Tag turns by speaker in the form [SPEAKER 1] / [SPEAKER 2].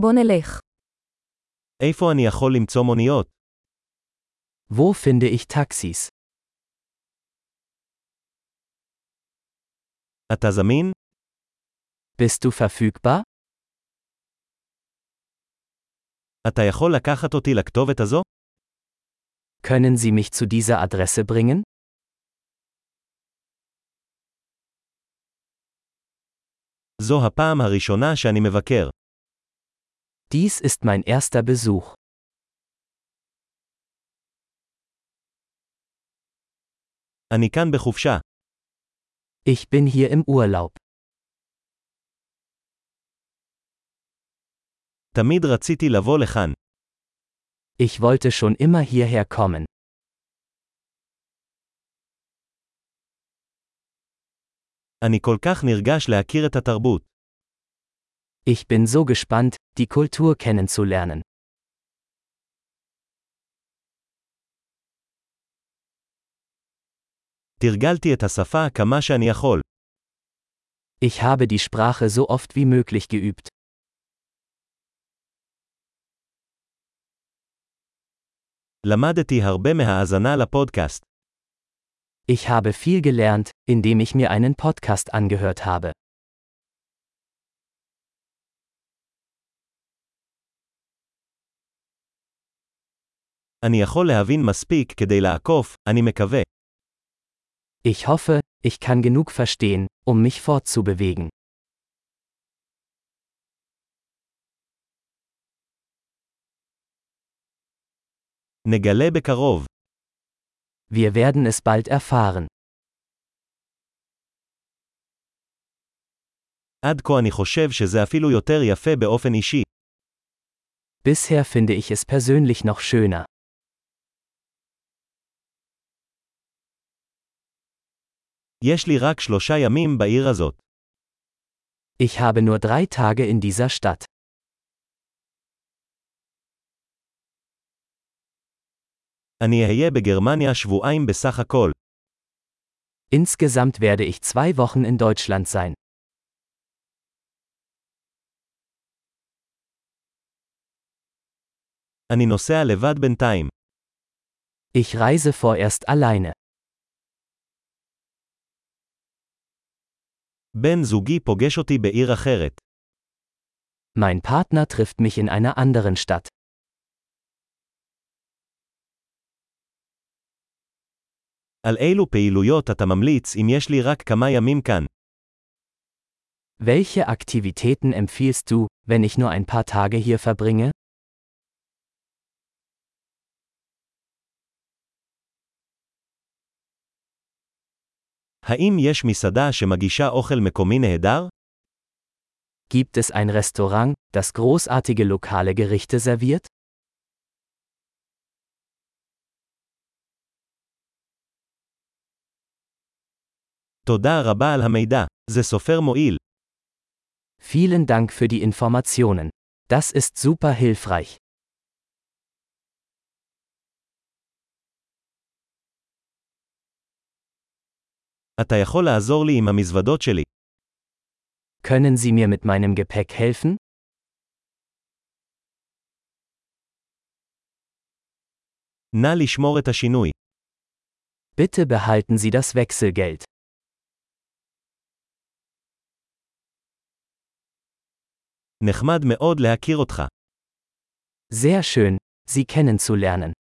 [SPEAKER 1] בוא נלך.
[SPEAKER 2] איפה אני יכול למצוא מוניות?
[SPEAKER 3] Wo finde ich Taxis?
[SPEAKER 2] אתה זמין?
[SPEAKER 3] Bist du verfügbar?
[SPEAKER 2] אתה יכול לקחת אותי לכתובת הזו?
[SPEAKER 3] Können Sie mich zu dieser Adresse bringen?
[SPEAKER 2] זו הפעם הראשונה שאני מבקר.
[SPEAKER 3] Dies ist mein erster Besuch.
[SPEAKER 2] אני כאן בחופשה.
[SPEAKER 3] Ich bin hier im Urlaub.
[SPEAKER 2] תמיד רציתי לבוא לכאן.
[SPEAKER 3] Ich wollte schon immer hierher kommen.
[SPEAKER 2] אני כל כך נרגש להכיר את התרבות.
[SPEAKER 3] Ich bin so gespannt, die Kultur kennenzulernen.
[SPEAKER 2] תרגלתי את השפה כמה שאני יכול.
[SPEAKER 3] Ich habe die Sprache so oft wie möglich geübt.
[SPEAKER 2] למדתי הרבה מההאזנה לפודקאסט.
[SPEAKER 3] Ich habe viel gelernt, indem ich mir einen Podcast angehört habe.
[SPEAKER 2] אני יכול להבין מספיק כדי לעקוף, אני מקווה.
[SPEAKER 3] Ich hoffe, ich kann genug verstehen, um mich fortzubewegen.
[SPEAKER 2] נגלה בקרוב.
[SPEAKER 3] Wir werden es bald erfahren.
[SPEAKER 2] עד כה אני חושב שזה אפילו יותר יפה באופן אישי.
[SPEAKER 3] Bisher finde ich es persönlich noch schöner.
[SPEAKER 2] יש לי רק שלושה ימים בעיר הזאת.
[SPEAKER 3] Ich habe nur drei Tage in dieser Stadt.
[SPEAKER 2] אני אהיה בגרמניה שבועיים בסך הכל.
[SPEAKER 3] Insgesamt werde ich zwei Wochen in Deutschland sein.
[SPEAKER 2] אני נוסע לבד בינתיים.
[SPEAKER 3] Ich reise vorerst alleine.
[SPEAKER 2] בן זוגי פוגש אותי בעיר אחרת.
[SPEAKER 3] Mein Partner trifft mich in einer anderen Stadt.
[SPEAKER 2] על אילו פעילויות אתה ממליץ אם יש לי רק כמה ימים כאן?
[SPEAKER 3] Welche Aktivitäten empfiehlst du, wenn ich nur ein paar Tage hier verbringe?
[SPEAKER 2] האם יש מסעדה שמגישה אוכל מקומי נהדר?
[SPEAKER 3] Gibt es ein Restaurant, das großartige lokale Gerichte serviert?
[SPEAKER 2] תודה רבה על המידע. זה סופר מועיל.
[SPEAKER 3] Vielen Dank für die Informationen. Das ist super hilfreich.
[SPEAKER 2] אתה יכול לעזור לי עם המזוודות שלי.
[SPEAKER 3] Können Sie mir mit meinem Gepäck helfen?
[SPEAKER 2] נא לשמור את השינוי.
[SPEAKER 3] Bitte behalten Sie das Wechselgeld.
[SPEAKER 2] נחמד מאוד להכיר אותך.
[SPEAKER 3] Sehr schön, Sie kennenzulernen.